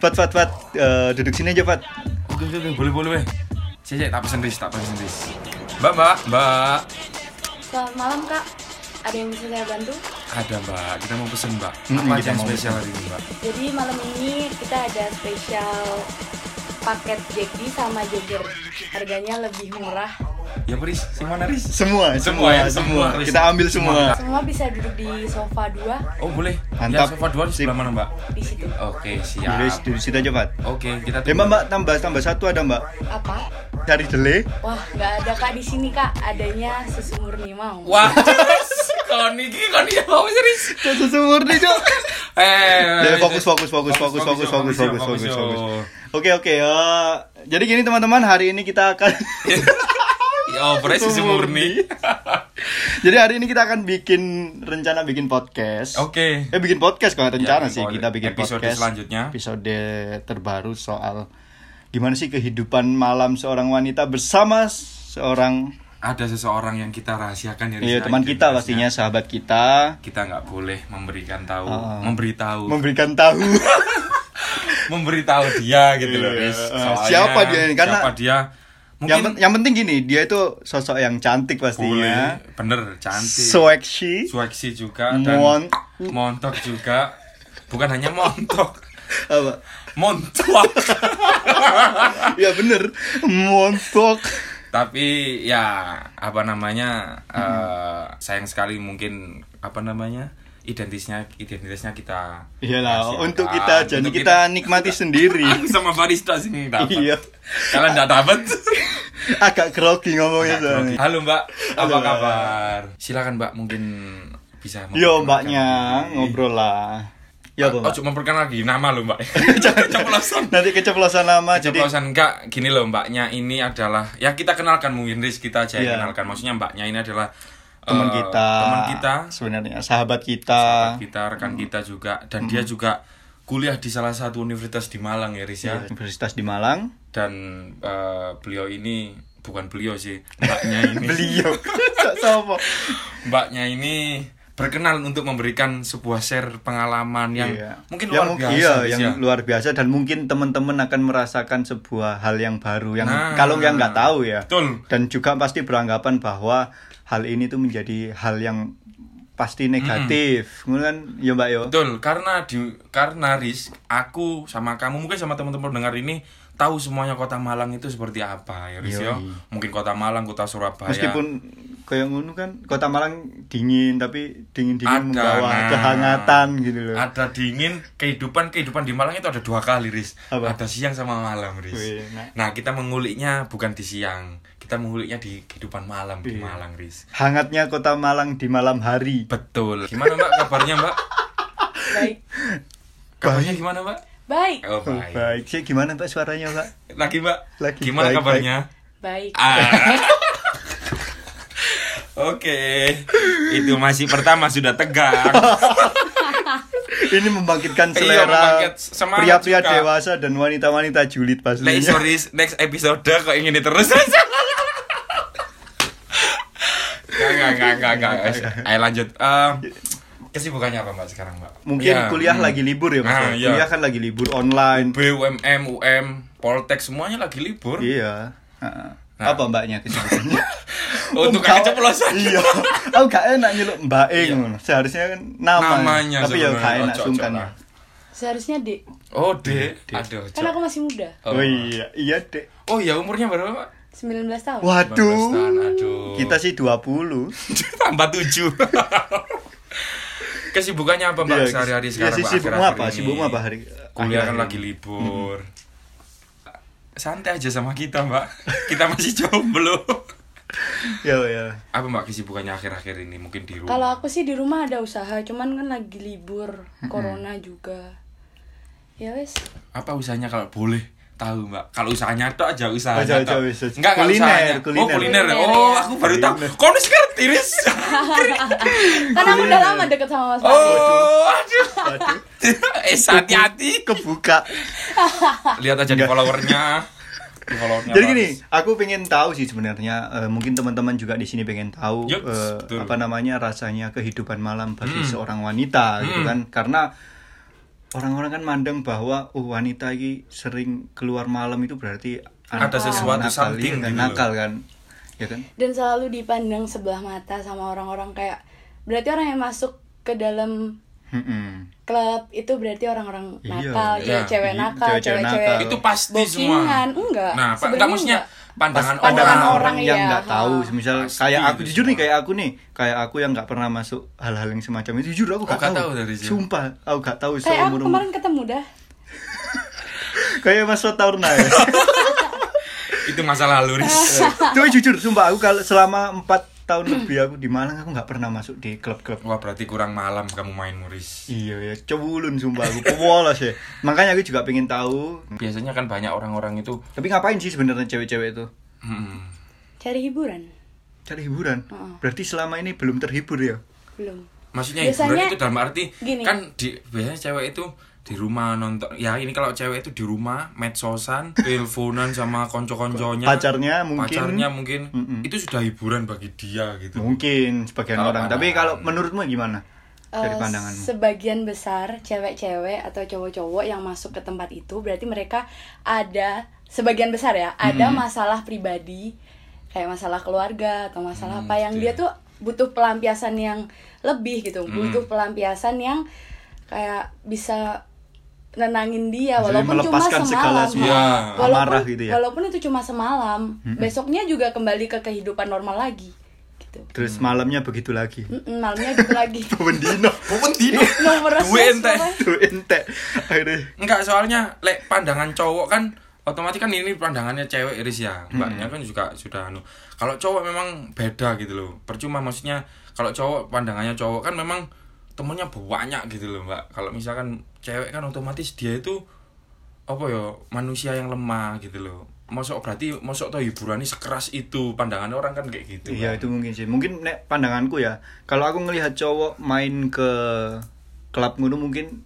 Fat, Fat, Fat, Eh, duduk sini aja Fat. Oke, oke, oke, boleh, boleh, weh. Cek, cek, tak pesen ris, tak pesen ris. Mbak, mbak, mbak. Selamat malam kak. Ada yang bisa saya bantu? Ada mbak, kita mau pesen mbak. Mm, Apa kita aja yang mau spesial hari ini mbak? Jadi malam ini kita ada spesial paket Jegdi sama Jeger. Harganya lebih murah. Ya, apa, ris, sing mana ris? Semua, Semua semua, ya, semua. semua. Kita ambil semua. Semua bisa duduk di sofa dua Oh boleh. Mantap. Ya, sofa dua di sebelah mana mbak? di situ. Oke, siap. Duduk, duduk situ aja Fat. Oke, kita Ya mbak, mbak, tambah, tambah satu ada mbak. Apa? Cari delay. Wah, nggak ada kak di sini kak. Adanya susu murni mau. Wah, kon iki kon iki mau serius. Susu murni Cok. Ya, Eh, fokus, fokus, fokus, fokus, fokus, fokus, yo, fokus, fokus, yo. fokus. Oke, oke. eh, Jadi gini teman-teman, hari ini kita akan Ya, obrolnya susu murni. Jadi hari ini kita akan bikin rencana bikin podcast. Oke. Eh bikin podcast kalau rencana Ya, sih kita bikin episode podcast. selanjutnya. Episode terbaru soal gimana sih kehidupan malam seorang wanita bersama seorang Ada seseorang yang kita rahasiakan ya, Ris, ya, ya, teman kita identitasnya. pastinya sahabat kita Kita nggak boleh memberikan tahu, Ah. memberitahu, memberikan tahu memberitahu dia gitu loh, Ris. Iya. Soalnya Siapa dia ini? Karena- siapa dia? yang, Mungkin pen- yang penting gini dia itu sosok yang cantik pastinya boleh, bener, cantik. seksi Sueksi juga dan Mon- montok juga. Bukan hanya montok, apa montok. ya bener montok Tapi ya apa namanya? eh, sayang sekali mungkin apa namanya? identitasnya identitasnya kita iyalah rahasiakan. untuk kita jadi oh, Untuk kita nikmati sendiri Aku sama barista sini dapat. Iya. Kalian enggak dapat. agak grogi ngomongnya soalnya. Halo Mbak, apa Iya, Halo, Mbak. kabar? Silakan Mbak mungkin bisa Yo memperkenalkan mbaknya diri. ngobrol lah. Ya Oh, cuma memperkenalkan lagi nama lo Mbak. Ceplosan. Nanti keceplosan lama jadi Ceplosan enggak gini loh Mbaknya ini adalah ya kita kenalkan mungkin Riz kita aja Iya. yang kenalkan. Maksudnya Mbaknya ini adalah eh, teman kita, Iya. teman kita, sebenarnya sahabat sahabat kita. kita, rekan kita juga dan dia juga kuliah di salah satu universitas di Malang ya Riz ya. Iya, Universitas di Malang. dan eh, beliau ini bukan beliau sih mbaknya ini Beliau Sok sopo. mbaknya ini berkenan untuk memberikan sebuah share pengalaman yang Iya. Yang mungkin luar mung- biasa iya, Riz, yang ya. luar biasa dan mungkin teman-teman akan merasakan sebuah hal yang baru yang Nah. kalau yang nggak tahu ya. Betul. Dan juga pasti beranggapan bahwa hal ini tuh menjadi hal yang pasti negatif. Kemudian ya Mbak yo. betul karena di karena Riz aku sama kamu mungkin sama teman-teman pendengar ini tahu semuanya kota Malang itu seperti apa ya Riz ya Yoi. mungkin kota Malang kota Surabaya Meskipun kayak ngono kan kota Malang dingin tapi dingin-dingin Ada, membawa nah. kehangatan gitu loh. ada dingin kehidupan kehidupan di Malang itu ada dua kali Riz Apa? ada siang sama malam Riz Wih, nah. nah kita menguliknya bukan di siang kita menguliknya di kehidupan malam Iya. di Malang Riz Hangatnya kota Malang di malam hari. betul gimana mbak kabarnya mbak Baik, kabarnya gimana mbak baik, oh baik, Baik. Sih gimana Mbak suaranya, Mbak? lagi mbak Lagi, gimana baik, kabarnya baik. Ah. Oke, itu masih pertama sudah tegang. Ini membangkitkan Iya, selera membangkit semangat pria-pria juga. dewasa dan wanita-wanita julid pastinya. Next stories, next episode kok ingin ini terus. Gak, gak, gak, gak, gak. Ayo lanjut. Eh, kesibukannya apa mbak sekarang mbak? Mungkin Ya, kuliah hmm. lagi libur ya, Mas. Nah, ya? iya. Kuliah kan lagi libur online. BUMN, UM, Poltek semuanya lagi libur. Iya. Heeh. Nah. Oh, Apa mbaknya kesibukannya? Untuk Mbak- aja pelosan. Iya. Aku gak enak nyeluk Mbak E ngono. Seharusnya kan nama. Iya. Namanya Tapi ya sebenarnya. gak enak Ojo, ojo sungkan. lah. Seharusnya D. Oh deh, aduh. Kan aku masih muda, Oh. Oh iya, iya, Dek. Oh iya umurnya berapa pak? 19 tahun. tahun, Waduh. aduh. Kita sih 20. tambah tujuh. Kesibukannya apa mbak Iya, sehari-hari iya, sekarang? sih, Mbak, sibukmu akhir-akhir apa? ini? Sibukmu apa hari- Kuliah akhir-akhir kan lagi libur. Santai aja sama kita mbak. Kita masih jomblo. Ya, ya. Apa mbak kesibukannya akhir-akhir ini? Mungkin di rumah. Kalau aku sih di rumah ada usaha, cuman kan lagi libur, corona juga. Ya wes, Apa usahanya kalau boleh? tahu mbak kalau usahanya tok aja Aja, usahanya tok. aja, aja. enggak enggak Kuliner, usahanya oh kuliner. kuliner oh Kuliner. aku baru tahu kau nih ngerti Riz Karena Kan aku udah lama deket sama Mas Fadli. Iya. oh aduh eh hati-hati Kebuka. lihat aja di followernya di followernya Jadi gini, bagus. aku pengen tahu sih sebenarnya eh, mungkin teman-teman juga di sini pengen tahu Yups, eh, betul. Hmm. apa namanya rasanya kehidupan malam bagi seorang wanita gitu kan. Karena orang-orang kan mandang bahwa oh, wanita ini sering keluar malam itu berarti anak- Ada sesuatu, nakal, iya something kan, gitu loh. nakal kan ya kan dan selalu dipandang sebelah mata sama orang-orang kayak berarti orang yang masuk ke dalam Mm-mm. klub itu berarti orang-orang Iya, nakal iya. ya cewek Iya, nakal cewek-cewek nakal. cewek-cewek Itu pasti semua. bokingan. enggak Nah, pak, sebenarnya enggak maksudnya enggak. pandangan, Pas- pandangan Kan orang. orang. yang iya, nggak tahu ha. misal Pasti kayak aku itu jujur nih semua. kayak aku nih kayak aku yang nggak pernah masuk hal-hal yang semacam itu jujur aku Oh, nggak nggak tahu, tahu dari situ. sumpah aku nggak tahu kayak aku seumur umur kemarin ketemu dah kayak mas Sotaurna ya Itu masalah lalu, Riz. Eh, tapi jujur sumpah aku kalau selama empat tahun lebih aku di Malang aku nggak pernah masuk di klub-klub Wah, berarti kurang malam kamu main Riz. Iya ya, cebulun sumpah aku polos ya. Makanya aku juga pengen tahu. Biasanya kan banyak orang-orang itu Tapi ngapain sih sebenarnya cewek-cewek itu? hmm, cari hiburan Cari hiburan. Heeh. Berarti selama ini belum terhibur ya? belum maksudnya hiburan Biasanya- itu dalam arti gini. kan di biasanya cewek itu di rumah nonton ya ini kalau cewek itu di rumah medsosan teleponan sama konco-konconya Pacarnya mungkin. pacarnya mungkin Mm-mm. itu sudah hiburan bagi dia gitu Mungkin sebagian Kalau orang. pandangan. Tapi kalau menurutmu gimana? Dari Eh, pandanganmu. sebagian besar cewek-cewek atau cowok-cowok yang masuk ke tempat itu berarti mereka ada sebagian besar ya ada masalah pribadi kayak masalah keluarga atau Mm, masalah apa iya. yang dia tuh butuh pelampiasan yang lebih gitu Mm. butuh pelampiasan yang kayak bisa nenangin dia Maksudnya walaupun cuma melepaskan segala semalam semua Ya. walaupun amarah gitu ya. walaupun itu cuma semalam besoknya juga kembali ke kehidupan normal lagi gitu Terus malamnya begitu lagi. Mm-mm, malamnya gitu lagi Bendino. Pupun dino Duwe nomor resmi ente. semua. Tuh ente. Akhirnya. Enggak, soalnya lek pandangan cowok kan otomatis kan ini pandangannya cewek Iris ya. Hmm. Mbaknya kan juga sudah anu. Kalau cowok memang beda gitu loh. Percuma maksudnya kalau cowok pandangannya cowok kan memang temennya banyak gitu loh, Mbak. Kalau misalkan cewek kan otomatis dia itu apa ya, manusia yang lemah gitu loh. Mosok berarti mosok to hiburan sekeras itu pandangan orang kan kayak gitu. Iya Mbak. itu mungkin sih. Mungkin nek pandanganku ya. Kalau aku ngelihat cowok main ke klub ngono mungkin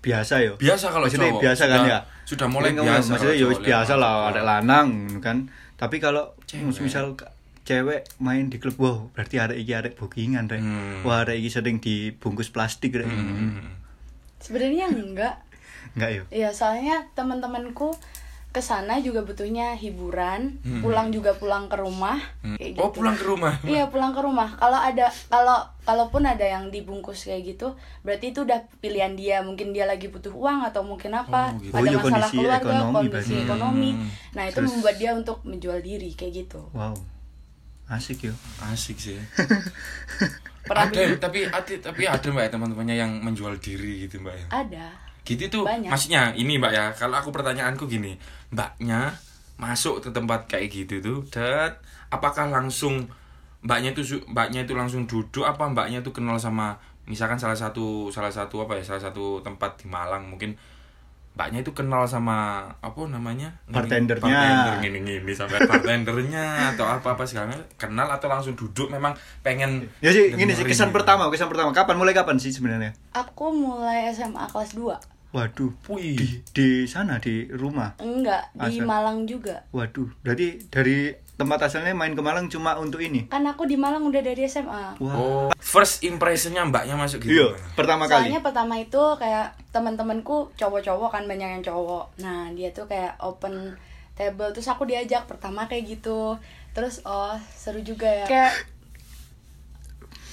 biasa yo. Biasa kalau Maksudnya cowok. biasa kan Sudah- ya. Sudah mulai Mungkin biasa. kamu- Maksudnya ya kalau cowok biasa lihat Hmm, lah orang. ada lanang kan. Tapi kalau Cewek. misal ke- cewek main di klub wow berarti ada iki ada bookingan rek. Hmm. Wah ada iki sering dibungkus plastik rek. Hmm. Sebenarnya enggak. Enggak yo. Ya soalnya teman-temanku kesana juga butuhnya hiburan, pulang juga pulang ke rumah. Hmm. kayak Oh, gitu. pulang ke rumah. Iya pulang ke rumah. Kalau ada kalau kalaupun ada yang dibungkus kayak gitu, berarti itu udah pilihan dia. Mungkin dia lagi butuh uang atau mungkin apa. Oh, gitu. Oh, Ada iya, masalah kondisi keluarga, ekonomi kondisi berarti. ekonomi. Hmm. Nah itu Terus- membuat dia untuk menjual diri kayak gitu. Wow. Asik ya. yo. Asik sih. ya. Pernah ada tapi ada tapi ada mbak ya teman-temannya yang menjual diri gitu mbak ya Ada. gitu tuh Banyak. maksudnya ini mbak ya kalau aku pertanyaanku gini mbaknya masuk ke tempat kayak gitu tuh dat apakah langsung mbaknya itu su- mbaknya itu langsung duduk apa mbaknya itu kenal sama misalkan salah satu salah satu apa ya salah satu tempat di Malang mungkin mbaknya itu kenal sama apa namanya Bartendernya. bartender gini gini sampai bartendernya atau apa apa segala macam. kenal atau langsung duduk memang pengen Ya sih gini sih dengerin kesan gitu. pertama, kesan pertama. Kapan mulai kapan sih sebenarnya? Aku mulai SMA kelas 2 Waduh. Wih. Di di sana di rumah. Enggak, di Asal. Malang juga. Waduh, berarti dari tempat asalnya main ke Malang cuma untuk ini? Kan aku di Malang udah dari SMA. Wah. Oh, first impressionnya mbaknya masuk gitu. Iya, pertama Soalnya kali. pertama itu kayak teman-temanku cowok-cowok kan banyak yang cowok. Nah, dia tuh kayak open table terus aku diajak pertama kayak gitu. Terus oh, seru juga ya. Kayak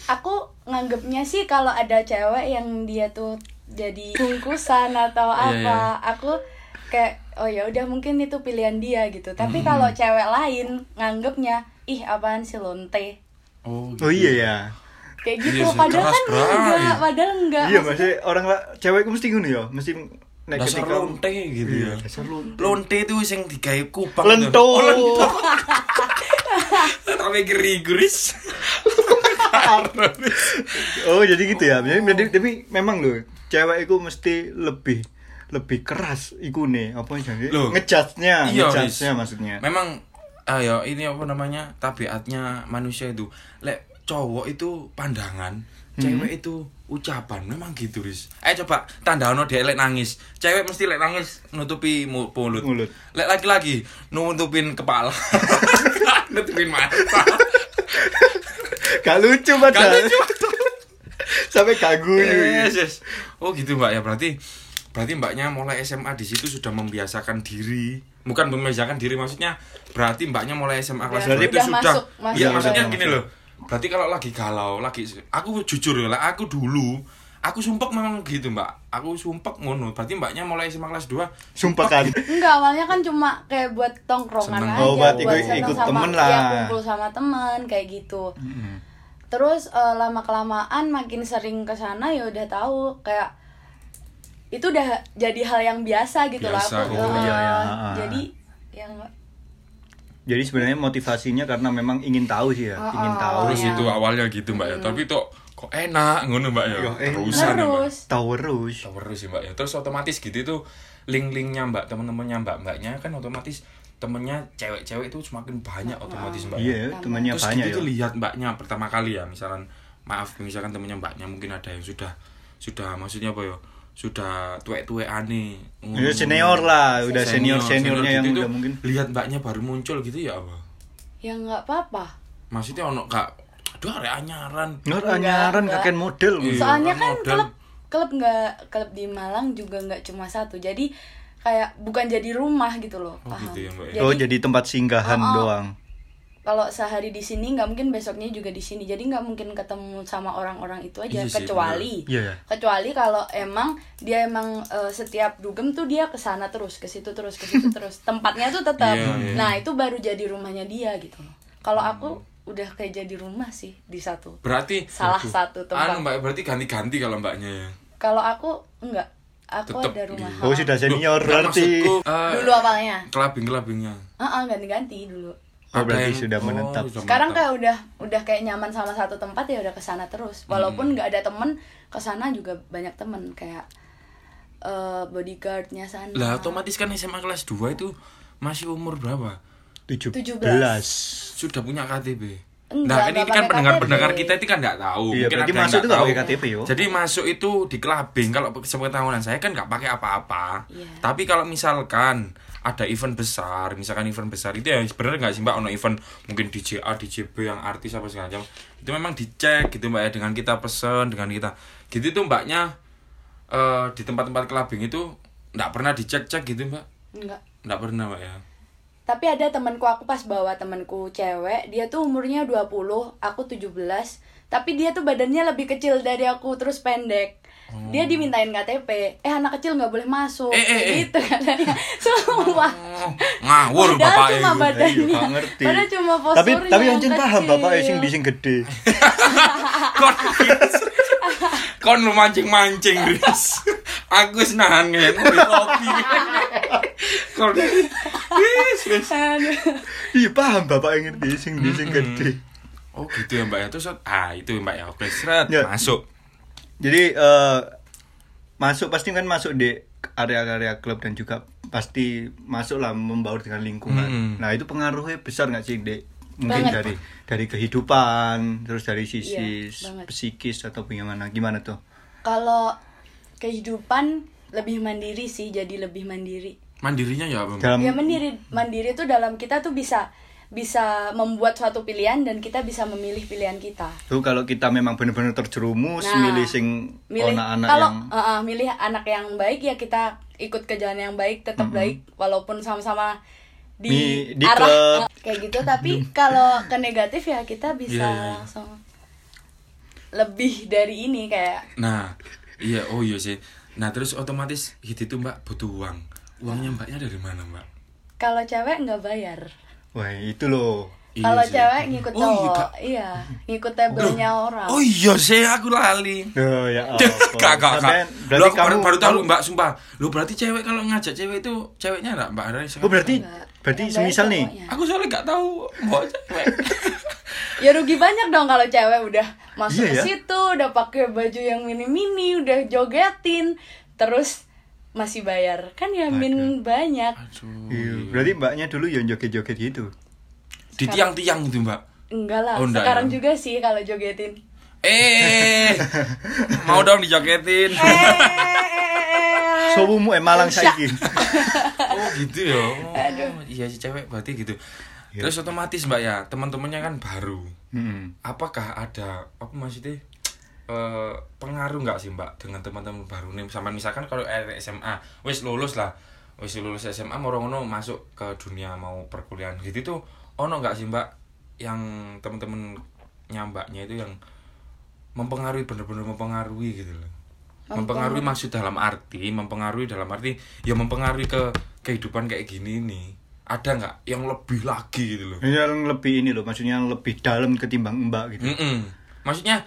aku nganggepnya sih kalau ada cewek yang dia tuh jadi bungkusan atau apa, Iya, iya. aku kayak oh ya udah mungkin itu pilihan dia gitu. Tapi kalau cewek lain nganggepnya ih apaan sih lonte. Oh, Oh iya ya. Kayak Iya gitu sih, keras, padahal kan Bray. enggak, padahal Iya, enggak. Maksudnya- maksudnya orang lah cewek mesti ngono ya, mesti nek Dasar lonte gitu Iya, ya. dasar lonte. Lonte tuh sing digawe kupang. Lento. tuh. Oh, lento. Oh, Tapi geriguris. Oh, jadi gitu ya. Jadi jadi- tapi memang loh, cewek itu mesti lebih lebih keras iku nih apa jadi Loh. ngejudge-nya, Iya, Ah, ngejudge-nya Riz. maksudnya. Memang ayo ini apa namanya? Tabiatnya manusia itu. Lek cowok itu pandangan, Hmm. cewek itu ucapan. Memang gitu, Riz. Eh coba tandano dia lek nangis. Cewek mesti lek nangis nutupi mu- mulut. Mulut. Lek laki-laki nutupin kepala. nutupin mata. Gak lucu padahal. Kalau cuma Sampai gak guyu. Yes, yes. Oh gitu mbak ya berarti berarti mbaknya mulai SMA di situ sudah membiasakan diri bukan membiasakan diri maksudnya berarti mbaknya mulai SMA kelas dua Ya, itu udah sudah masuk- masuk iya ke- maksudnya masuk. gini loh berarti kalau lagi galau lagi aku jujur ya lah aku dulu aku sumpek memang gitu mbak aku sumpek ngono berarti mbaknya mulai SMA kelas 2 Sumpah kan. Enggak, awalnya kan cuma kayak buat tongkrongan Seneng. aja, Oh, buat ikut- seneng ikut sama, temen iya, lah. kumpul sama temen kayak gitu. Terus eh, lama kelamaan makin sering ke sana ya udah tahu kayak itu udah jadi hal yang biasa gitu Biasa, lah aku. oh, eh, iya, iya, ah. Jadi ya yang Jadi sebenarnya motivasinya karena memang ingin tahu sih ya, Oh, ingin oh, tahu. terus Iya. Hmm. itu awalnya gitu mbak ya tapi kok kok enak ngono mbak ya Yo, enak. terusan ya, mbak. terus Tahu terus. terus sih mbak ya terus otomatis gitu itu link-linknya mbak teman-temannya mbak mbaknya kan otomatis temennya cewek-cewek itu semakin banyak otomatis mbak ya. Iya, temannya terus banyak gitu ya. tuh lihat mbaknya pertama kali ya misalkan maaf misalkan temennya mbaknya mungkin ada yang sudah sudah maksudnya apa ya sudah tuwek-tuwek aneh Ya, senior lah, udah gitu senior-seniornya yang udah mungkin. lihat mbaknya baru muncul gitu ya apa ya nggak apa-apa. maksudnya ono kak aduh arek anyaran Nur Enggak, anyaran enggak. kakek model. Iya, soalnya kan kan modal. klub klub nggak klub di Malang juga nggak cuma satu jadi kayak bukan jadi rumah gitu loh Oh, paham gitu ya, Mbak ya. Oh, jadi tempat singgahan Oh, oh. doang. kalau sehari di sini nggak mungkin besoknya juga di sini jadi nggak mungkin ketemu sama orang-orang itu Iya aja sih, kecuali bener. Iya, iya. kecuali kalau emang dia emang eh, setiap dugem tuh dia ke sana terus ke situ terus ke situ terus tempatnya tuh tetap Iya, iya. nah itu baru jadi rumahnya dia gitu loh kalau aku Hmm. udah kayak jadi rumah sih di satu berarti Salah satu tempat. anu mbak berarti ganti-ganti kalau mbaknya ya kalau aku enggak aku Tetep ada rumah Oh, sudah senior Loh, berarti. maksudku, eh, dulu awalnya kelabing-kelabingnya Oh, Heeh, ganti-ganti dulu. Oh, berarti sudah menetap. Sekarang kayak udah udah kayak nyaman sama satu tempat ya udah kesana terus. Hmm. Walaupun nggak ada temen, kesana juga banyak temen kayak eh bodyguardnya sana. Lah otomatis kan SMA kelas 2 itu masih umur berapa? 17. 17. Sudah punya KTP. nah, Enggak, ini kan enggak pakai pendengar-pendengar KTP. kita itu kan nggak tahu. Iya, berarti ada yang masuk nggak itu nggak tahu. pakai KTP, yo. Jadi masuk itu di kelabing kalau sepengetahuan saya kan nggak pakai apa-apa. Iya. Tapi kalau misalkan ada event besar, misalkan event besar itu ya sebenarnya nggak sih mbak ono event mungkin DJ A, DJB yang artis apa segala macam itu memang dicek gitu mbak ya dengan kita pesen dengan kita gitu tuh mbaknya eh, di tempat-tempat kelabing itu nggak pernah dicek-cek gitu mbak Enggak. nggak pernah mbak ya Tapi ada temanku aku pas bawa temanku cewek, dia tuh umurnya 20, aku 17. Tapi dia tuh badannya lebih kecil dari aku terus pendek. Dia dimintain KTP, eh anak kecil nggak boleh masuk, Oh. Eh, eh, eh. gitu katanya. Semua. Oh, ngawur Padahal bapak cuma itu. Iya, badannya. nggak ngerti. Padahal cuma posturnya. Tapi tapi yang anjing paham kecil. bapak sing di sing gede. kon kon lu mancing mancing Riz aku wis nahan ngene di kopi kon Riz Riz Aduh. Iya, paham bapak yang ngerti sing di sing gede. oh gitu ya mbak ya terus ah itu mbak ya oke seret Ya. masuk Jadi eh, masuk pasti kan masuk di area-area klub dan juga pasti masuklah membaur dengan lingkungan. Hmm. Nah itu pengaruhnya besar nggak sih dek? Mungkin Banget. dari dari kehidupan, terus dari sisi Iya, banget. psikis atau gimana? Gimana tuh? Kalau kehidupan lebih mandiri sih, jadi lebih mandiri. mandirinya ya apa mbak Dalam Ya mandiri mandiri tuh dalam kita tuh bisa bisa membuat suatu pilihan dan kita bisa memilih pilihan kita. tuh kalau kita memang benar-benar terjerumus, Nah, milih sing milih Oh, anak-anak kalau yang eh, eh, milih anak yang baik ya kita ikut ke jalan yang baik tetap baik walaupun sama-sama di, Mi- di arah klub. eh, kayak gitu tapi kalau ke negatif ya kita Iya, bisa iya, iya. langsung lebih dari ini kayak nah iya oh iya sih nah terus otomatis gitu itu mbak butuh uang uangnya mbaknya dari mana mbak kalau cewek nggak bayar wah itu loh. Iya kalau sih. cewek ngikut Oh, iya, cowok Kak. iya ngikut tabelnya orang oh iya sih aku lali Oh, ya Duh, ampun. Kak, kak, kak. Sampean- Lu berarti aku kamu baru, baru tahu kamu- Mbak, sumpah. Lu berarti cewek kalau ngajak cewek itu ceweknya enggak Mbak Aris? Oh berarti Enggak. berarti Yang bayar semisal nih cowoknya. aku soalnya enggak tahu mbak cewek. ya rugi banyak dong kalau cewek udah masuk Iya ke ya. situ udah pakai baju yang mini-mini udah jogetin terus masih bayar kan ya min banyak Aduh. Iya, berarti mbaknya dulu yang joget-joget gitu. Di tiang-tiang itu, Mbak. enggak lah Oh, enggak sekarang ya. juga sih kalau jogetin Eh. mau dong dijogetin. Eh. Sowumu eh Malang saiki. oh, gitu ya. Oh, iya si cewek berarti gitu. Terus otomatis Mbak ya, teman-temannya kan baru. Hmm. Apakah ada apa maksudnya? eh, pengaruh nggak sih mbak dengan teman-teman baru nih sama misalkan kalau eh, SMA wis lulus lah wis lulus SMA mau ngono masuk ke dunia mau perkuliahan gitu tuh ono nggak sih mbak yang teman-teman nyambaknya itu yang mempengaruhi bener-bener mempengaruhi gitu loh mempengaruhi maksud dalam arti mempengaruhi dalam arti ya mempengaruhi ke kehidupan kayak gini nih ada nggak yang lebih lagi gitu loh Ini yang lebih ini loh, maksudnya yang lebih dalam ketimbang Mbak gitu. Mm-mm. Maksudnya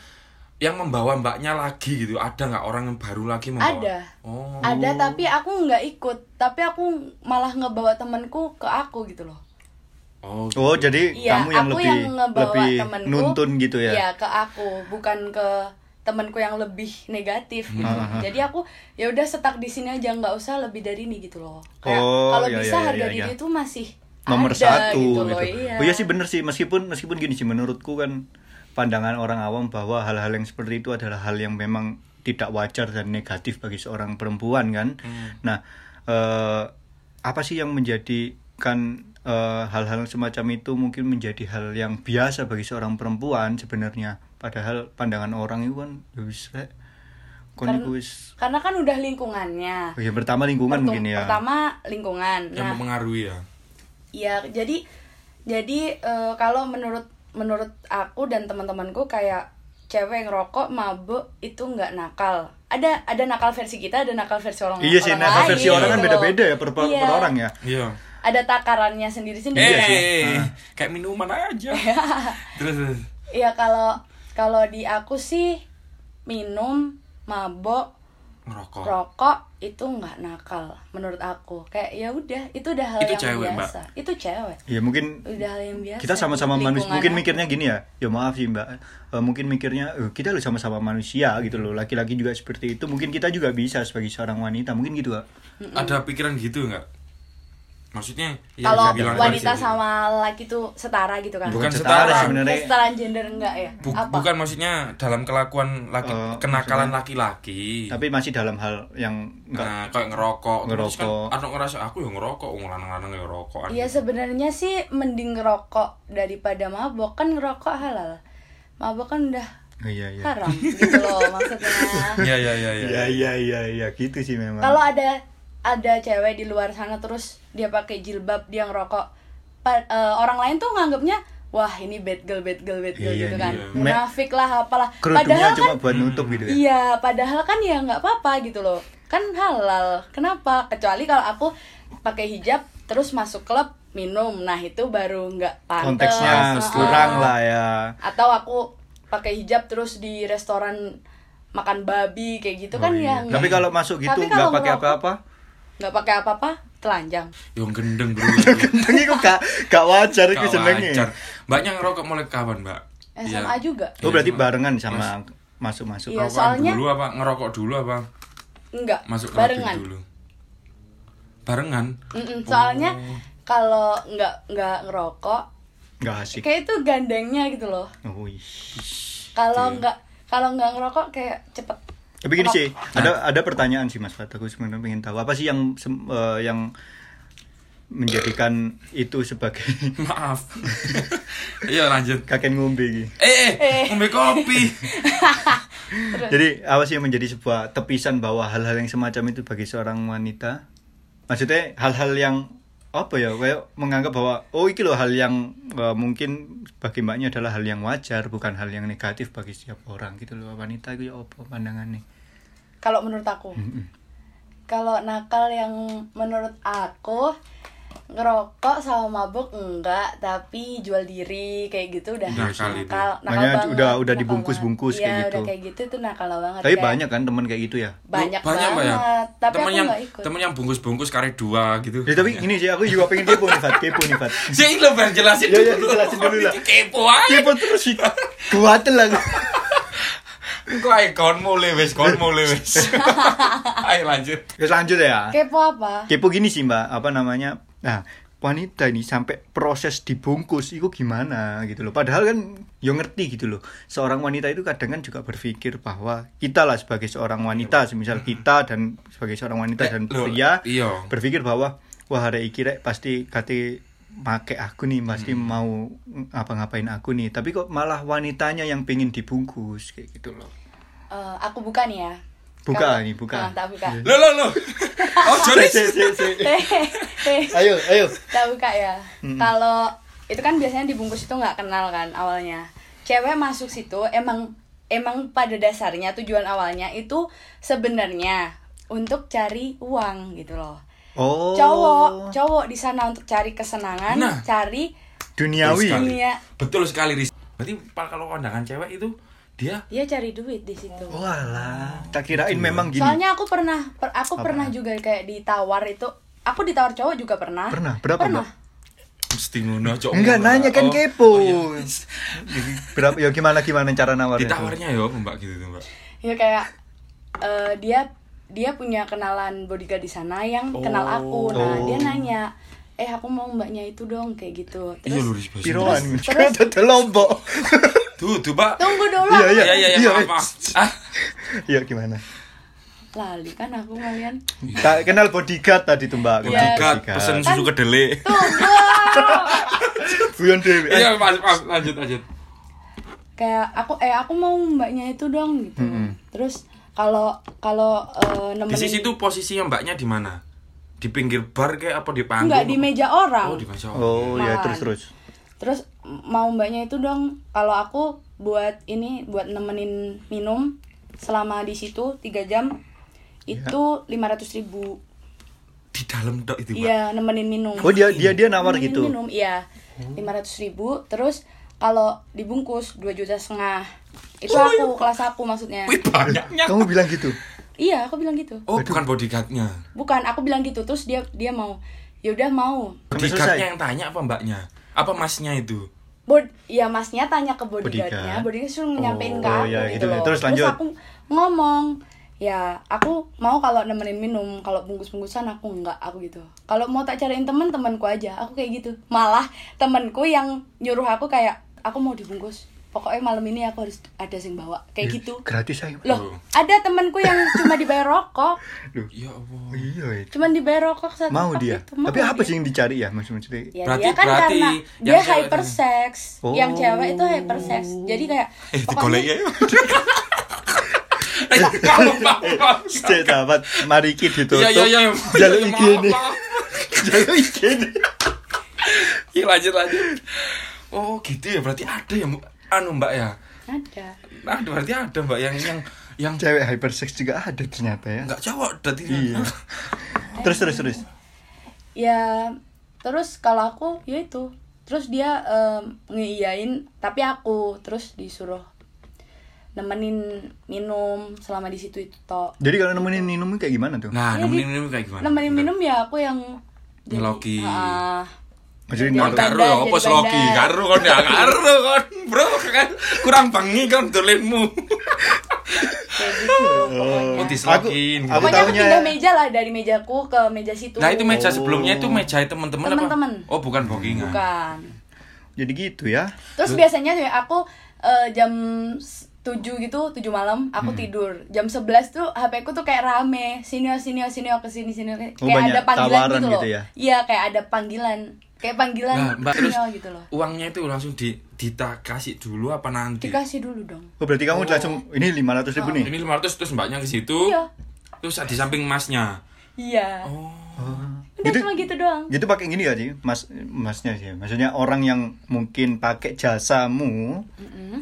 yang membawa mbaknya lagi gitu, ada nggak orang yang baru lagi membawa? Ada. Oh. Ada tapi aku nggak ikut, tapi aku malah ngebawa temanku ke aku gitu loh. Oh. Oh, jadi Iya, kamu yang aku lebih yang ngebawa lebih temanku. nuntun gitu ya. Iya, ke aku, bukan ke temanku yang lebih negatif gitu. Hmm, Jadi aku ya udah setak di sini aja nggak usah lebih dari ini gitu loh. Kayak Oh, kalau iya, bisa iya, harga iya, diri iya. itu masih Nomor ada satu gitu gitu. loh. Iya. Oh iya sih bener sih, meskipun meskipun gini sih menurutku kan pandangan orang awam bahwa hal-hal yang seperti itu adalah hal yang memang tidak wajar dan negatif bagi seorang perempuan kan. Nah, eh, apa sih yang menjadikan eh, hal-hal semacam itu mungkin menjadi hal yang biasa bagi seorang perempuan sebenarnya? Padahal pandangan orang itu kan ya wis rek. Kon Karena- iku wis Karena kan udah Oh lingkungannya. ya, pertama lingkungan Pertu- mungkin ya. Pertama lingkungan. Yang Nah, mempengaruhi ya. Iya, jadi jadi eh, kalau menurut menurut aku dan teman-temanku kayak cewek yang rokok mabuk itu nggak nakal. Ada ada nakal versi kita, ada nakal versi orang Iya sih, orang nakal lain versi orang kan gitu loh. beda-beda ya per, per- Iya. per orang ya. Iya. Iya. Ada takarannya sendiri-sendiri. Eh, sih. eh, kayak minuman aja. terus, terus. Iya kalau kalau di aku sih minum, mabok, Oh. ngerokok. rokok itu nggak nakal menurut aku. Kayak ya udah, itu udah hal Itu yang cewek, Mbak. biasa. Itu cewek. Ya mungkin Udah hal yang biasa. kita sama-sama di manusia mungkin lingkungan mikirnya gini ya ya maaf sih mbak Eh, mungkin mikirnya eh, kita loh sama-sama manusia gitu loh laki-laki juga seperti itu mungkin kita juga bisa sebagai seorang wanita mungkin gitu Kak. Ada pikiran gitu nggak? Maksudnya Iya, ya, kalau dibilang wanita tadi. sama laki tuh setara gitu kan Bukan setara setara. sebenarnya kesetaraan gender enggak ya Bu- apa bukan maksudnya dalam kelakuan laki Eh, kenakalan laki-laki. tapi masih dalam hal yang enggak Iya. Nah, kayak ngerokok, terus kan Ngerokok. aku ngerasa aku yang ngerokok, wong lanang-lanang ya rokokan. Iya sebenarnya sih mending ngerokok daripada mabok kan ngerokok halal mabok kan udah Oh, iya iya haram gitu loh maksudnya Iya, iya, iya, iya. iya iya iya iya gitu sih memang kalau ada ada cewek di luar sana terus dia pakai jilbab dia ngerokok pa- eh, orang lain tuh nganggapnya wah ini bad girl bad girl bad girl Iya, gitu iya, kan iya. munafik lah apalah kerudungnya padahal kan cuma buat nutup gitu ya Iya, padahal kan ya nggak apa-apa gitu loh. Kan halal. Kenapa? Kecuali kalau aku pakai hijab terus masuk klub minum. Nah, itu baru nggak pantas. konteksnya Heeh. kurang lah ya Atau aku pakai hijab terus di restoran makan babi kayak gitu kan Oh, iya. ya. nggak- tapi kalau masuk gitu Tapi nggak kalau pakai ngerokok- apa-apa nggak pakai apa-apa, telanjang. Yang gendeng bro. ini kok gak gak wajar itu Gak wajar. senengnya Mbaknya ngerokok mulai kapan mbak? Iya. SMA Eh, juga. oh berarti Mas- barengan sama masuk-masuk Iya. Rokokan soalnya- dulu apa ngerokok dulu apa Enggak, masuk ke barengan. Mm. dulu? Barengan. Mm-mm, soalnya Oh. kalau nggak nggak ngerokok, nggak asik kayak itu gandengnya gitu loh. oh, wih. Iya. kalau nggak kalau nggak ngerokok kayak cepet Tapi gini sih, ada ada pertanyaan sih Mas Fat. Aku sebenarnya pengen tahu apa sih yang sem- eh, yang menjadikan itu sebagai Maaf. Iya lanjut. kakek ngombe gitu. Eh, eh, ngombe kopi. Jadi apa sih yang menjadi sebuah tepisan bahwa hal-hal yang semacam itu bagi seorang wanita? Maksudnya hal-hal yang apa ya? Kayak menganggap bahwa oh iki loh hal yang eh, mungkin bagi mbaknya adalah hal yang wajar, bukan hal yang negatif bagi setiap orang gitu loh. Wanita itu ya apa pandangannya? kalau menurut aku kalau nakal yang menurut aku ngerokok sama mabuk enggak tapi jual diri kayak gitu udah Nakal itu. Makanya banget, udah- udah nakal dibungkus-bungkus kayak banget. Iya, udah gitu. kayak gitu itu nakal banget Tapi kayak banyak kan teman kayak gitu ya? banyak, Mbak, banget tapi temen aku yang nggak ikut temen yang bungkus-bungkus kare dua gitu. Ya, tapi gini sih, aku juga pengen kepo nih, Fat. Kepo nih, Fat. Sih lo pengen jelasin Ya, ya, dulu. jelasin dulu lah. Kepo aja. Kepo terus sih. Kuatel aku. Engko ae kon mulai wis, kon mulai wis. Ayo lanjut. Terus lanjut ya. kepo apa Kepo gini sih, Mbak. Apa namanya? Nah, wanita ini sampai proses dibungkus itu gimana gitu loh. Padahal kan yo ngerti gitu loh. Seorang wanita itu kadang kan juga berpikir bahwa kita lah sebagai seorang wanita, semisal kita dan sebagai seorang wanita dan Iya. Eh, loh, pria iya. berpikir bahwa wah hari iki rek pasti kate make aku nih pasti mau apa ngapain aku nih tapi kok malah wanitanya yang pengen dibungkus kayak gitu loh eh, aku buka nih ya. Buka Kalau- nih, buka. Ah, tak buka. Eh, Lo lo lo. Oh, Joris. Si, si, si. Hehehe. ayo ayo tak buka ya. Kalau itu kan biasanya dibungkus itu nggak kenal kan awalnya. Cewek masuk situ emang emang pada dasarnya tujuan awalnya itu sebenarnya untuk cari uang gitu loh. oh Cowok, cowok di sana untuk cari kesenangan, Nah. cari Betul duniawi sekali. Iya. Betul sekali, Riz. Berarti Pak, kalau pandangan cewek itu dia dia cari duit di situ. walah tak Iya. kirain memang Oh, gini Soalnya aku pernah per- aku pernah juga kayak ditawar itu aku ditawar cowok juga pernah. Pernah? Berapa, Pernah. Mbak? mesti ngono, Cok. Enggak Ngono, nanya Mbak. kan Oh, kepo. oh, iya. Berapa ya gimana gimana cara nawarnya? Ditawarnya yo, Mbak gitu tuh, Mbak. ya kayak eh, dia dia punya kenalan bodyguard di sana yang kenal aku nah Oh. dia nanya eh aku mau mbaknya itu dong kayak gitu Iya lho, terus Riz. bahasa Piroan. Inggris. terus- Ada lombok. Tuh, tuh, Mbak. tunggu dulu Iya, aku Iya, iya, iya, Iya, maaf, Riz. maaf. Ah, Iya gimana? iya. lali kan aku kalian Tak kenal bodyguard tadi tuh Mbak. Iya. bodyguard pesen susu kedelai. tunggu Guyon Dewi. Iya, maaf, maaf, lanjut, lanjut. Iya. kayak aku eh aku mau mbaknya itu dong gitu terus kalau kalau Di eh, nemenin sisi itu posisinya Mbaknya di mana? Di pinggir bar kayak apa di panggung? enggak di meja Oh, orang di meja. Oh ya Malahan. terus terus. terus m- mau mbaknya itu dong kalau aku buat ini buat nemenin minum selama di situ tiga jam Iya. itu lima ribu Di dalam dok itu, Mbak. iya nemenin minum Oh dia dia dia nawar Nemenin gitu. minum iya lima ribu terus kalau dibungkus dua juta setengah itu Oh, iya. aku kelas aku maksudnya Wih, banyaknya. Kamu bilang gitu. iya aku bilang gitu Oh, bukan bodyguardnya. bukan aku bilang gitu terus dia dia mau ya udah mau Sampai selesai. Bodyguardnya yang tanya apa mbaknya? Apa masnya itu? bod ya masnya tanya ke bodyguardnya Bodyguard. bodyguard suruh nyampein Oh, ke aku ya, gitu gitu. loh Terus lanjut. aku ngomong ya aku mau kalau nemenin minum kalau bungkus-bungkusan aku enggak aku gitu kalau mau tak cariin temen temanku aja aku kayak gitu malah temanku yang nyuruh aku kayak aku mau dibungkus pokoknya malam ini aku harus ada yang bawa kayak gitu Gratis ayo. loh ada temanku yang cuma dibayar rokok Loh, Ya Allah. Iya. ya. cuma dibayar rokok satu Mau pak dia. itu. Mau Tapi apa dia. sih yang dicari ya maksud maksudnya? Ya, Berarti- dia kan berarti karena yang dia cewek- hypersex, Oh. yang cewek itu hypersex. Jadi kayak Eh, digolek pokoknya- ya. Eh, maaf, maaf, maaf. Cek sahabat, mari kita ditutup. Iya, iya, iya. Jalur Maaf, ini. maaf. Jalur ini. Iya, lanjut, lanjut. Oh, gitu ya. Berarti ada ya, Mbak? anu mbak ya. ada. Nah, berarti ada mbak yang yang yang Cewek hypersex juga ada ternyata ya. nggak cowok berarti. kan? Iya. Terus terus terus. Ya terus kalau aku ya itu. Terus dia em, ngeiyain tapi aku terus disuruh nemenin minum selama di situ itu tok. Jadi kalau nemenin minum kayak gimana tuh? Nah, Iya, nemenin di- minum kayak gimana? Nemenin minum ya aku yang jadi- Ngeloki. Ah. Maksudnya Kon Jadi naruh- bandar, karo ya apa jadi sloki? bandar. Karo kon ya karo kon, Bro. Kan kurang bengi kan kon dolenmu. Kayak gitu Oh, pokoknya. dislokin. Aku Pokoknya aku taunya- pindah meja lah dari mejaku ke meja situ. Nah, itu meja Oh. sebelumnya itu meja teman-teman apa? Teman-teman. Oh, bukan bookingan. Bukan. Jadi gitu ya. Terus biasanya tuh ya, aku eh, jam 7 gitu, 7 malam aku Hmm. tidur. Jam 11 tuh HP ku tuh kayak rame, senior senior senior ke sini sini kayak Oh, banyak ada panggilan tawaran gitu loh. gitu ya? Iya, kayak ada panggilan. Kayak panggilan Nah, Mbak, terus senior gitu loh. uangnya itu langsung di dita kasih dulu apa nanti? Dikasih dulu dong. Oh berarti kamu langsung ini 500 ribu nih. Oh, Ini 500 terus mbaknya ke Oh? situ. Iya. Terus di samping masnya. Iya. Udah Gitu cuma gitu doang. gitu pakai gini gak sih mas masnya sih maksudnya orang yang mungkin pakai jasamu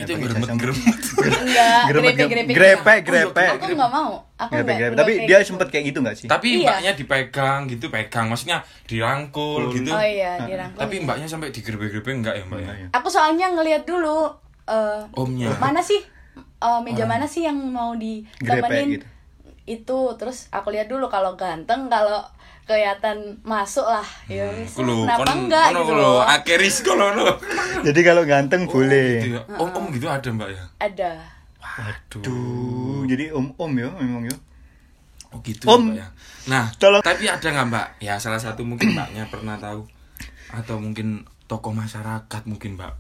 Itu yang geremet-geremet. Enggak, grepe-grepe. grepe grepe grepe gitu ya. Aku enggak mau. Aku grepe enggak. grepe enggak tapi kayak dia gitu. sempet kayak gitu gak sih Tapi Iya. mbaknya dipegang gitu, pegang maksudnya dirangkul gitu. Oh iya, dirangkul. Tapi mbaknya sampai digerbe-gerbe enggak ya, Mbak ya? Enggak ya. Aku soalnya ngeliat dulu eh, Omnya. mana sih eh, meja mana sih yang mau ditemenin Iya. Grepe gitu. itu terus aku lihat dulu kalau ganteng kalau kelihatan masuk lah ya Hmm. wis, Kulo, kenapa kan- enggak gitu loh Akeris kulo lo. jadi kalau ganteng Gitu boleh ya. Om om gitu ada mbak ya. ada Waduh. Tuh, jadi om om ya memang ya Oh gitu Om. mbak ya. Nah, Tolong. tapi ada nggak mbak? Ya salah satu mungkin mbaknya pernah tahu atau mungkin tokoh masyarakat mungkin mbak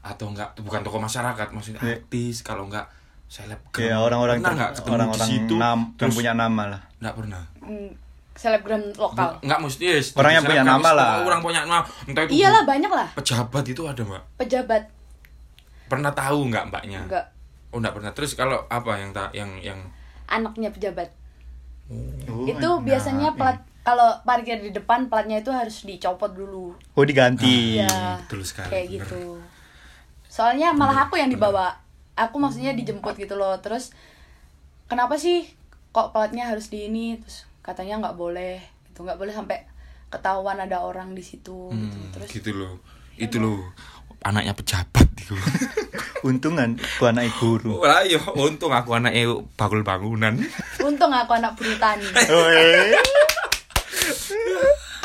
atau enggak bukan tokoh masyarakat maksudnya Iya. artis kalau enggak selebgram ya orang-orang pernah ter- nggak ketemu orang-orang di situ nam yang terus punya nama lah enggak pernah mm, selebgram lokal enggak mesti yes, Orang yang punya selebgram, nama yes, lah. orang punya nama entah itu iyalah banyak lah pejabat itu ada mbak pejabat pernah tahu nggak mbaknya enggak oh enggak pernah terus kalau apa yang tak yang yang anaknya pejabat Oh, ya? itu enak. biasanya plat kalau parkir di depan platnya itu harus dicopot dulu oh diganti Iya, betul sekali, kayak bener. gitu. Soalnya malah aku yang dibawa. Aku maksudnya dijemput gitu loh. Terus kenapa sih kok platnya harus di ini? Terus katanya nggak boleh. Itu nggak boleh sampai ketahuan ada orang di situ gitu. hmm, Terus gitu loh itu loh anaknya pejabat gitu itu untungan ku anak guru lah yo untung aku anaknya bakul bangunan untung aku anak perhutani. oh, eh.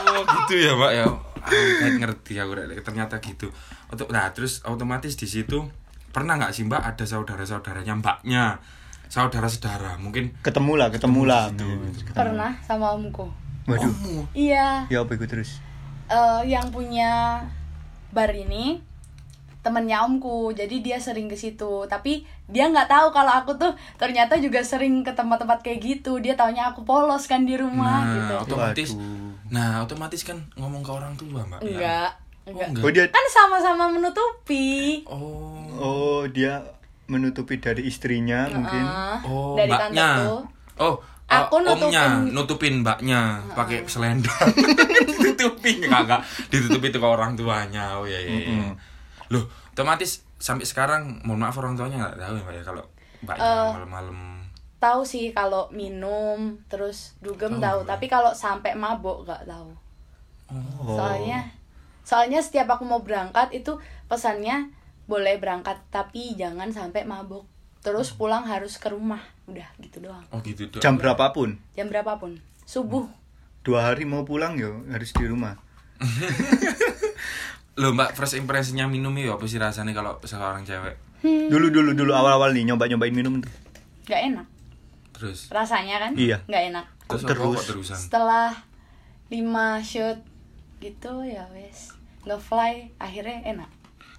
oh gitu ya pak ya aku ngerti aku Rek. ternyata gitu Oto- nah terus otomatis di situ pernah nggak sih mbak ada saudara saudaranya mbaknya saudara saudara mungkin ketemu lah ketemu lah Pernah sama omku. waduh kamu Iya, ya apa itu terus eh, yang punya bar ini temennya omku jadi dia sering ke situ tapi dia nggak tahu kalau aku tuh ternyata juga sering ke tempat-tempat kayak gitu dia taunya aku polos kan di rumah nah gitu otomatis Waduh. nah otomatis kan ngomong ke orang tua mbak ya? enggak Oh, enggak oh dia kan sama-sama menutupi oh oh dia menutupi dari istrinya mungkin Ah, Oh, dari mbaknya. tanteku Oh, Aku eh, omnya nutupin- nutupin mbaknya pakai selendang. Ditutupin enggak enggak ditutupi itu ke orang tuanya. Oh iya iya. iya. Mm-mm. Loh, otomatis sampai sekarang mohon maaf orang tuanya enggak tahu ya Mbak ya kalau mbaknya Eh. malam-malam. tahu sih kalau minum terus dugem Tahu. tahu tapi kalau sampai mabok nggak tahu Oh. soalnya soalnya setiap aku mau berangkat itu pesannya boleh berangkat tapi jangan sampai mabuk Hmm. terus pulang harus ke rumah udah gitu doang Oh gitu dong. jam berapapun jam berapapun subuh Hmm. dua hari mau pulang yo harus di rumah Loh, Mbak, first impressionnya minum ya apa sih rasanya kalau seorang cewek? Hmm. dulu dulu dulu awal awal nih nyoba nyobain minum tuh nggak enak Terus rasanya kan Iya. nggak enak Kok apa terus? kok terusan. setelah lima shoot gitu ya wes ngefly akhirnya enak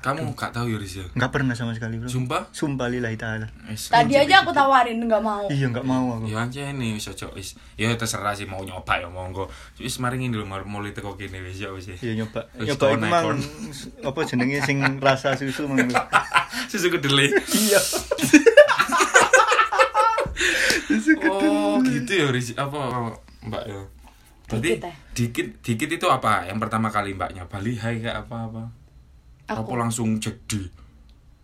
Kamu enggak tahu ya Rizya? nggak pernah sama sekali bro Sumpah? sumpah lillahi taala Wis, tadi cewek aja aku gitu. tawarin nggak mau iya nggak mau aku Ya aja ini wis ojo wis. Ya terserah sih mau nyoba ya monggo. Wis maringin dulu mar mulai teko kene wis ya wis. ya. iya nyoba Wis, nyoba kon, itu mang kon. apa jenenge sing rasa susu mang Susu kedelai. iya Oh, gitu ya Riz. Apa Mbak ya? Berarti Dikit, eh. dikit dikit itu apa? Yang pertama kali Mbaknya Bali hai kayak apa-apa? Aku. Apa langsung jadi?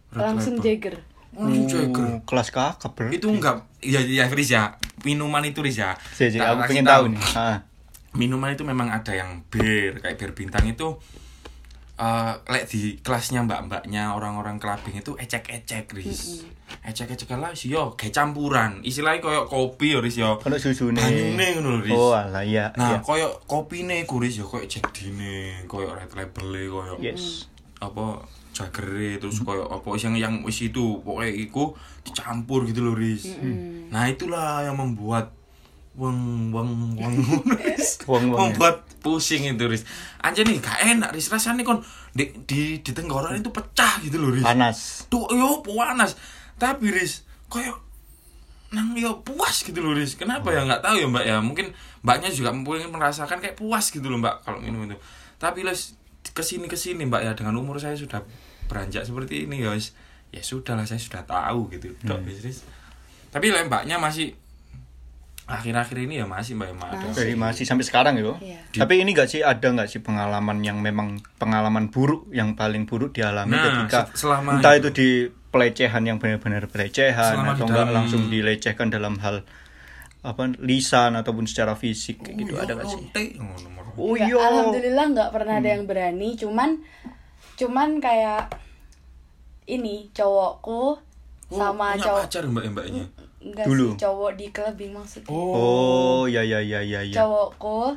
Red langsung label. jagger Langsung Jagger. Oh, kelas kakap bro Itu enggak ya ya Riz ya. Minuman itu Riz ya. Sih, sih, Tak aku kasih pengen tahu nih Ah. Minuman itu memang ada yang bir, kayak bir bintang itu eh lek di kelasnya mbak-mbaknya orang-orang kelabing itu ecek-ecek Riz ecek-ecek lah sih yo kayak campuran istilahnya kayak kopi yo Riz yo kalau susu nih Banyune ngono lho, Riz. oh alah iya Nah, iya. koyo kopine kuris ya koyo jadine, koyo red label-e koyo yes apa jagere terus koyo apa sing yang wis itu pokoknya iku dicampur gitu loh Riz. Nah, itulah yang membuat weng weng weng Riz. Weng, weng, ya. membuat pusing itu Riz. Anjir nih gak enak Riz rasanya kon di di, di tenggorokan itu pecah gitu loh Riz. panas Tuh yo panas. Tapi Riz koyo nang yo puas gitu loh Riz. Kenapa ya nggak tahu ya Mbak ya. Mungkin Mbaknya juga mungkin merasakan kayak puas gitu loh Mbak kalau minum itu. Tapi les kesini kesini Mbak ya dengan umur saya sudah beranjak seperti ini ya Riz. Ya sudahlah saya sudah tahu gitu. Dok, Riz, Riz. Tapi lah Mbaknya masih akhir-akhir ini ya masih Mbak ya Mbak ada. dari masih sampai sekarang gitu. Iya. Tapi ini gak sih ada nggak sih pengalaman yang memang pengalaman buruk yang paling buruk dialami Nah, ketika se- selama entah itu. itu di pelecehan yang benar-benar pelecehan Selama atau di enggak dalam- langsung dilecehkan dalam hal apa lisan ataupun secara fisik kayak gitu ada gak sih? Oh Nggak, iya. oh. Hmm. Alhamdulillah nggak pernah ada yang berani. Cuman, cuman kayak ini cowokku sama cowok cowok pacar Mbak ya Mbaknya. enggak Oh, Dulu. sih cowok di kelebing maksudnya. Oh, ya ya ya ya ya. Cowokku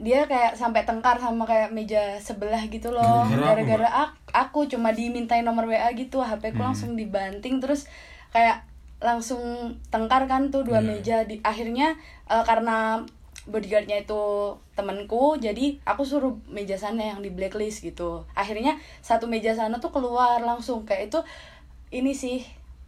dia kayak sampai tengkar sama kayak meja sebelah gitu loh Gara-gara apa, gara-gara ak- aku cuma dimintain nomor WA gitu HP ku langsung dibanting terus kayak langsung tengkar kan tuh dua meja di akhirnya eh, karena bodyguardnya itu temanku jadi aku suruh meja sana yang di blacklist gitu akhirnya satu meja sana tuh keluar langsung kayak itu ini sih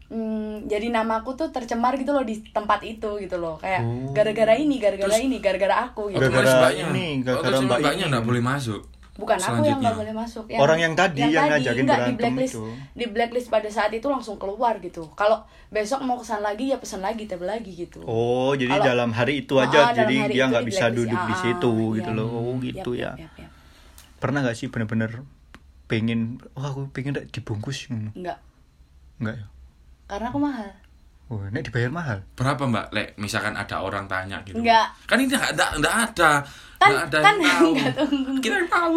mm, jadi namaku tuh tercemar gitu loh di tempat itu gitu loh kayak gara-gara ini gara-gara ini gara-gara aku gitu Oh. Gara-gara Otomatis Oh, mbaknya. ini, gara-gara Otomatis mbak mbaknya ini. nggak boleh masuk. bukan aku Selanjutnya. yang nggak boleh masuk ya. Orang yang tadi, yang ngajakin nggak, di berantem blacklist itu. di blacklist pada saat itu langsung keluar gitu kalau besok mau kesan lagi ya pesan lagi tabel lagi gitu Oh, jadi Kalau- dalam hari itu Ah, aja, dalam jadi hari dia itu nggak di bisa blacklist. duduk di Ah, situ iya. gitu loh. Oh, gitu Yap, ya. yap, yap, yap. Pernah nggak sih bener-bener pengen, wah aku pengen nggak dibungkus ngono? nggak Enggak ya? karena aku mahal Wah, nek dibayar mahal. berapa mbak lek misalkan ada orang tanya gitu Enggak. kan ini enggak enggak, enggak ada Kan- enggak ada kan yang tahu enggak tunggu. kita yang tahu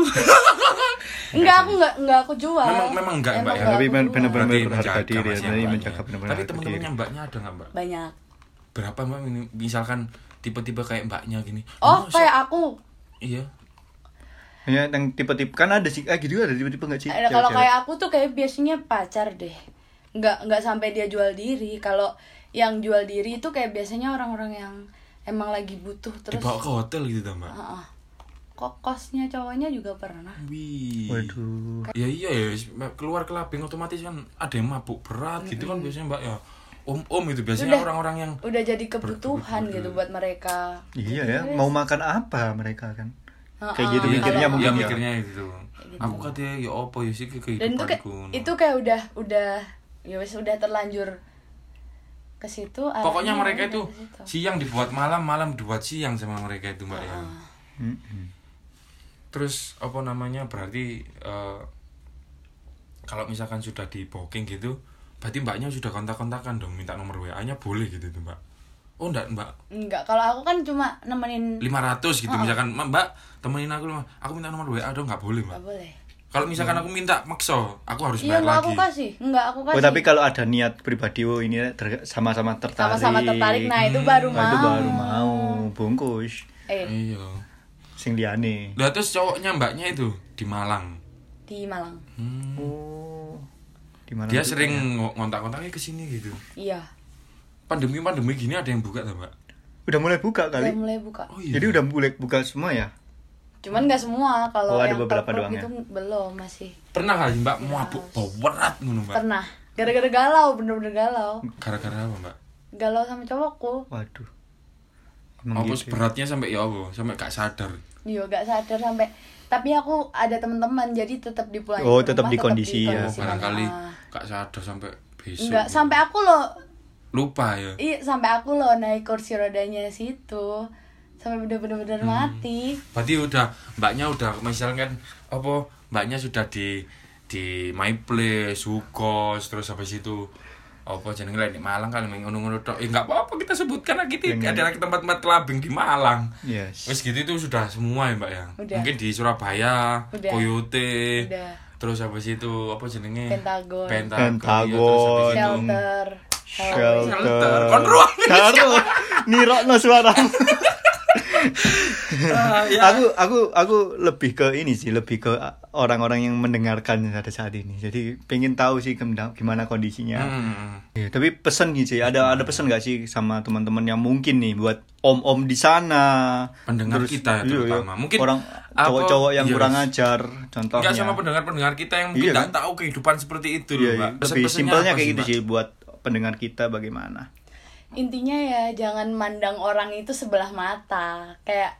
nggak aku nggak nggak aku jual Memang- memang nggak, Mbak, ya? nggak Tapi aku men- jual. bener-bener- Berarti berharga menjaga diri, masih jadi mbaknya. menjaga benar-benar tapi harga teman-temannya diri. mbaknya ada nggak mbak banyak berapa mbak ini? misalkan tipe-tipe kayak mbaknya gini oh "Masa?" kayak aku iya Ya, yang tipe-tipe kan ada sih, eh gitu ada tipe-tipe nggak sih? Eh, kalau cewek-cewek? kayak aku tuh kayak biasanya pacar deh nggak nggak sampai dia jual diri kalau yang jual diri itu kayak biasanya orang-orang yang emang lagi butuh terus Ah. dibawa ke hotel gitu tuh mbak Heeh. kok kosnya cowoknya juga pernah Wih. Waduh. Ya iya ya keluar ke labing otomatis kan ada yang mabuk berat gitu kan biasanya Mbak ya. Om-om itu biasanya Udah. orang-orang yang udah jadi kebutuhan gitu buat mereka Iya ya, mau makan apa mereka kan? Kayak Heeh, gitu Iya, mikirnya iya, mungkin iya, ya. mikirnya gitu. Aku katanya ya apa ya sih dan itu kayak kehidupanku. itu kayak udah udah ya wes udah terlanjur ke situ arahnya Pokoknya mereka udah itu ke situ. siang dibuat malam, malam dibuat siang sama mereka itu Mbak ya. Mm-mm. Terus apa namanya berarti eh, kalau misalkan sudah di booking gitu, berarti Mbaknya sudah kontak-kontakan dong minta nomor WA-nya boleh gitu tuh Mbak. Oh enggak Mbak, enggak kalau aku kan cuma nemenin 500 gitu misalkan "Ma, mbak temenin aku Mbak. aku minta nomor WA dong nggak boleh mbak nggak boleh kalau misalkan Hmm. aku minta makso aku harus iya bayar enggak aku lagi kasih enggak aku kasih Oh, tapi kalau ada niat pribadi, oh ini ter- sama-sama tertarik. sama-sama tertarik nah itu baru Nah, itu mau baru mau bungkus eh iya sing liane. lah terus cowoknya mbaknya itu di Malang di Malang Hmm. Oh. Di mana? dia tuh? sering ngo- ngontak-kontaknya ke sini gitu iya pandemi pandemi gini ada yang buka tak mbak udah mulai buka udah kali. mulai buka oh Jadi udah mulai buka semua ya? cuman nggak semua kalau Oh, ada yang beberapa top-top doang ya? gitu belum masih pernah kali mbak mabuk berat ngono mbak pernah gara-gara galau bener-bener galau gara-gara apa mbak galau sama cowokku Waduh. apa gitu ya. beratnya sampai ya apa sampai gak sadar Iya gak sadar sampai tapi aku ada teman-teman jadi tetap dipulangin Oh, ke tetap rumah, di kondisi ya. oh Masih barangkali Ah. gak sadar sampai besok gitu. enggak sampai aku loh lupa ya iya sampai aku loh naik kursi rodanya situ sampai bener-bener Hmm. mati Berarti udah mbaknya udah misalkan kan, apa mbaknya sudah di di my place, Sugos, terus habis itu apa jenenge lek di Malang kan main ngono-ngono tok. Eh enggak apa-apa kita sebutkan lagi di ada lagi tempat-tempat labing di Malang. Iya. Yes. Wis gitu itu sudah semua ya, Mbak ya. Udah. Mungkin di Surabaya, Udah. Koyote. Udah. Terus habis itu apa jenenge? Pentagon. Pentagon. Pentagon. Iya, terus habis itu- shelter Shelter. Shelter. Kon ruang. Karo. Nirokno suaramu. Ah, ya. aku aku aku lebih ke ini sih lebih ke orang-orang yang mendengarkan pada saat ini jadi pengen tahu sih kemda- gimana kondisinya Hmm. Ya, tapi pesan nih sih ada ada pesan nggak sih sama teman-teman yang mungkin nih buat om-om di sana Pendengar kita iya, ya iya. terutama. Mungkin orang apa- cowok-cowok yang iya, kurang wis. ajar contohnya Enggak sama pendengar-pendengar kita yang mungkin Iya, tidak tahu kehidupan seperti itu Iya, loh, iya. Mbak. lebih Pesan-pesannya simpelnya apa kayak gitu Mbak? sih buat pendengar kita bagaimana intinya ya jangan mandang orang itu sebelah mata kayak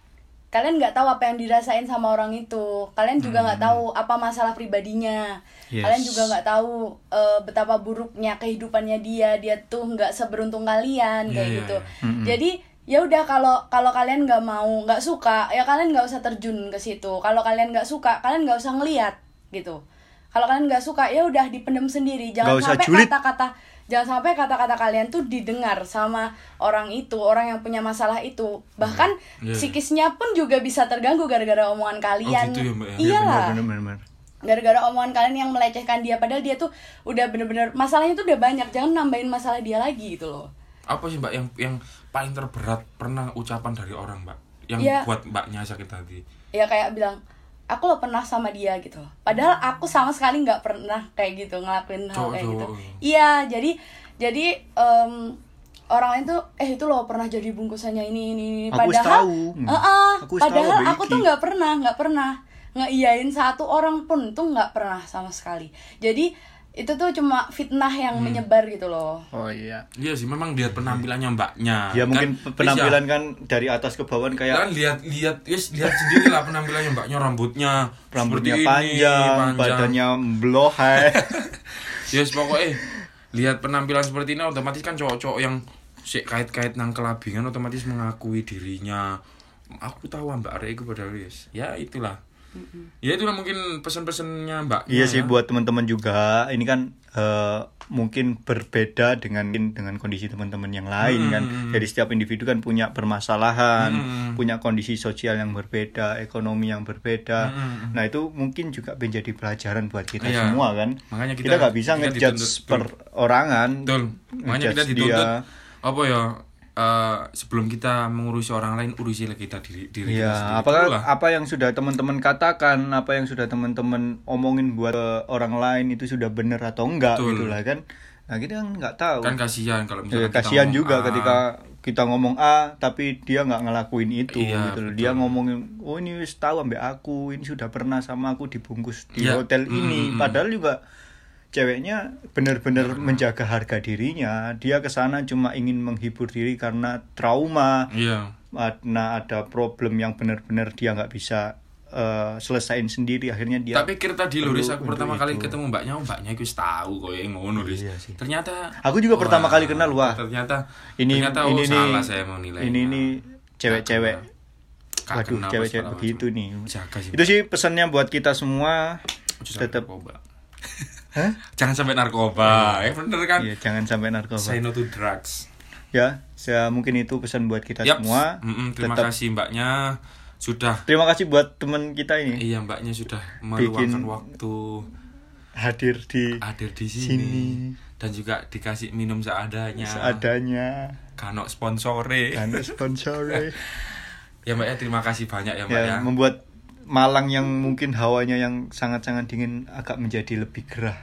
kalian nggak tahu apa yang dirasain sama orang itu kalian juga nggak tahu apa masalah pribadinya Hmm. Yes. kalian juga nggak tahu eh, betapa buruknya kehidupannya dia dia tuh nggak seberuntung kalian kayak Iya, iya, gitu iya. Hmm. jadi ya udah kalau kalau kalian nggak mau nggak suka ya kalian nggak usah terjun ke situ kalau kalian nggak suka kalian nggak usah ngeliat gitu kalau kalian nggak suka ya udah dipendam sendiri jangan Nggak usah sampai julid. kata-kata jangan sampai kata-kata kalian tuh didengar sama orang itu orang yang punya masalah itu bahkan Iya. psikisnya pun juga bisa terganggu gara-gara omongan kalian gitu ya, Mbak ya? Iya, iyalah benar-benar gara-gara omongan kalian yang melecehkan dia padahal dia tuh udah bener-bener masalahnya tuh udah banyak jangan nambahin masalah dia lagi gitu loh Apa sih Mbak yang yang paling terberat pernah ucapan dari orang, Mbak? Yang Iya. buat Mbaknya sakit hati. ya kayak bilang aku lo pernah sama dia gitu padahal Hmm. aku sama sekali nggak pernah kayak gitu ngelakuin hal Cowok- kayak gitu hmm. cowok. iya jadi jadi em, orang lain tuh eh itu lo pernah jadi bungkusannya ini ini, ini. Aku padahal tahu. Hmm. Heeh, Aku tahu, padahal Mbak aku Iki. tuh nggak pernah nggak pernah ngeiyain satu orang pun tuh nggak pernah sama sekali jadi itu tuh cuma fitnah yang Hmm. menyebar gitu loh oh iya Iya sih, memang lihat penampilannya mbaknya. ya Kan, mungkin ya. wis ya, penampilan kan dari atas ke bawah kayak kan lihat lihat wis lihat sendiri lah penampilannya mbaknya rambutnya rambutnya seperti ini, panjang, badannya blohay Yes pokoknya eh, lihat penampilan seperti ini otomatis kan cowok-cowok yang sik kait-kait nang kelabingan otomatis mengakui dirinya. Aku tahu Mbak Arek iku padahal yes. Ya itulah. Ya itulah mungkin pesan-pesannya ya. Mbak. iya sih buat teman-teman juga ini kan eh, mungkin berbeda dengan dengan kondisi teman-teman yang lain kan jadi setiap individu kan punya permasalahan punya kondisi sosial yang berbeda ekonomi yang berbeda nah itu mungkin juga menjadi pelajaran buat kita Iya. semua kan Makanya kita kita- nggak bisa kita ngejudge dituntut- perorangan Betul. Makanya kita ngejudge dituntut dia. apa ya? eh, sebelum kita mengurusi orang lain urusi kita diri diri kita sendiri Iya, apakah Itulah. apa yang sudah teman-teman katakan, apa yang sudah teman-teman omongin buat eh, orang lain itu sudah benar atau enggak Betul. gitu lah kan. Nah, kita kan nggak tahu. kan kasihan kalau Eh, misalnya kasihan "Ah, juga ketika kita ngomong A tapi dia nggak ngelakuin itu Iya, gitu loh. Dia ngomongin, "Oh, ini wis tahu ambek aku, ini sudah pernah sama aku dibungkus di Iya. hotel ini." Padahal juga ceweknya benar-benar menjaga harga dirinya. Dia kesana cuma ingin menghibur diri karena trauma iya karena ada problem yang benar-benar dia nggak bisa eh, selesain sendiri akhirnya dia tak pikir tadi lho Riz, Iya. aku Perlu pertama untuk kali itu. ketemu mbaknya oh, mbaknya aku tahu kok yang ngono Riz. Iya sih. ternyata Aku juga pertama kali kenal, wah. ternyata ini ternyata oh, ini nih salah saya mau nilai ini nih cewek-cewek waduh cewek-cewek begitu nih jaga sih itu sih pesannya buat kita semua Jangan sampai tetap narkoba. Hah? jangan sampai narkoba ya bener kan ya jangan sampai say narkoba no to drugs ya saya mungkin itu pesan buat kita Kan Yaps. semua Mm-mm, terima tetap kasih mbaknya sudah terima kasih buat teman kita ini iya mbaknya sudah Bikin- meluangkan waktu hadir di ada di sini, Sini. dan juga dikasih minum seadanya. seadanya Kanok sponsore. dan sponsor Ya Mbak ya terima kasih banyak ya Mbak ya, ya. membuat Malang yang mungkin hawanya yang sangat-sangat dingin agak menjadi lebih gerah.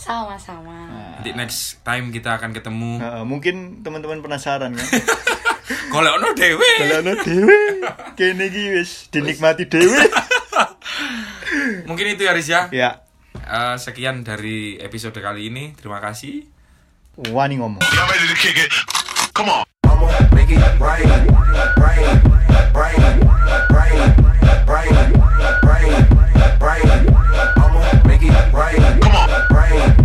sama-sama Nanti next time kita akan ketemu. Nah, mungkin teman-teman penasaran kan? Golekno dhewe. Kalau dewe, kene iki wis dinikmati dewe. Mungkin itu ya Riz ya. ya, Eh, sekian dari episode kali ini. Terima kasih. wani ngomong. Y'all ready to kick it? Come on. I'ma make it rain, rain, rain, rain, rain, rain, rain, rain. I'ma make it rain, Come on. rain,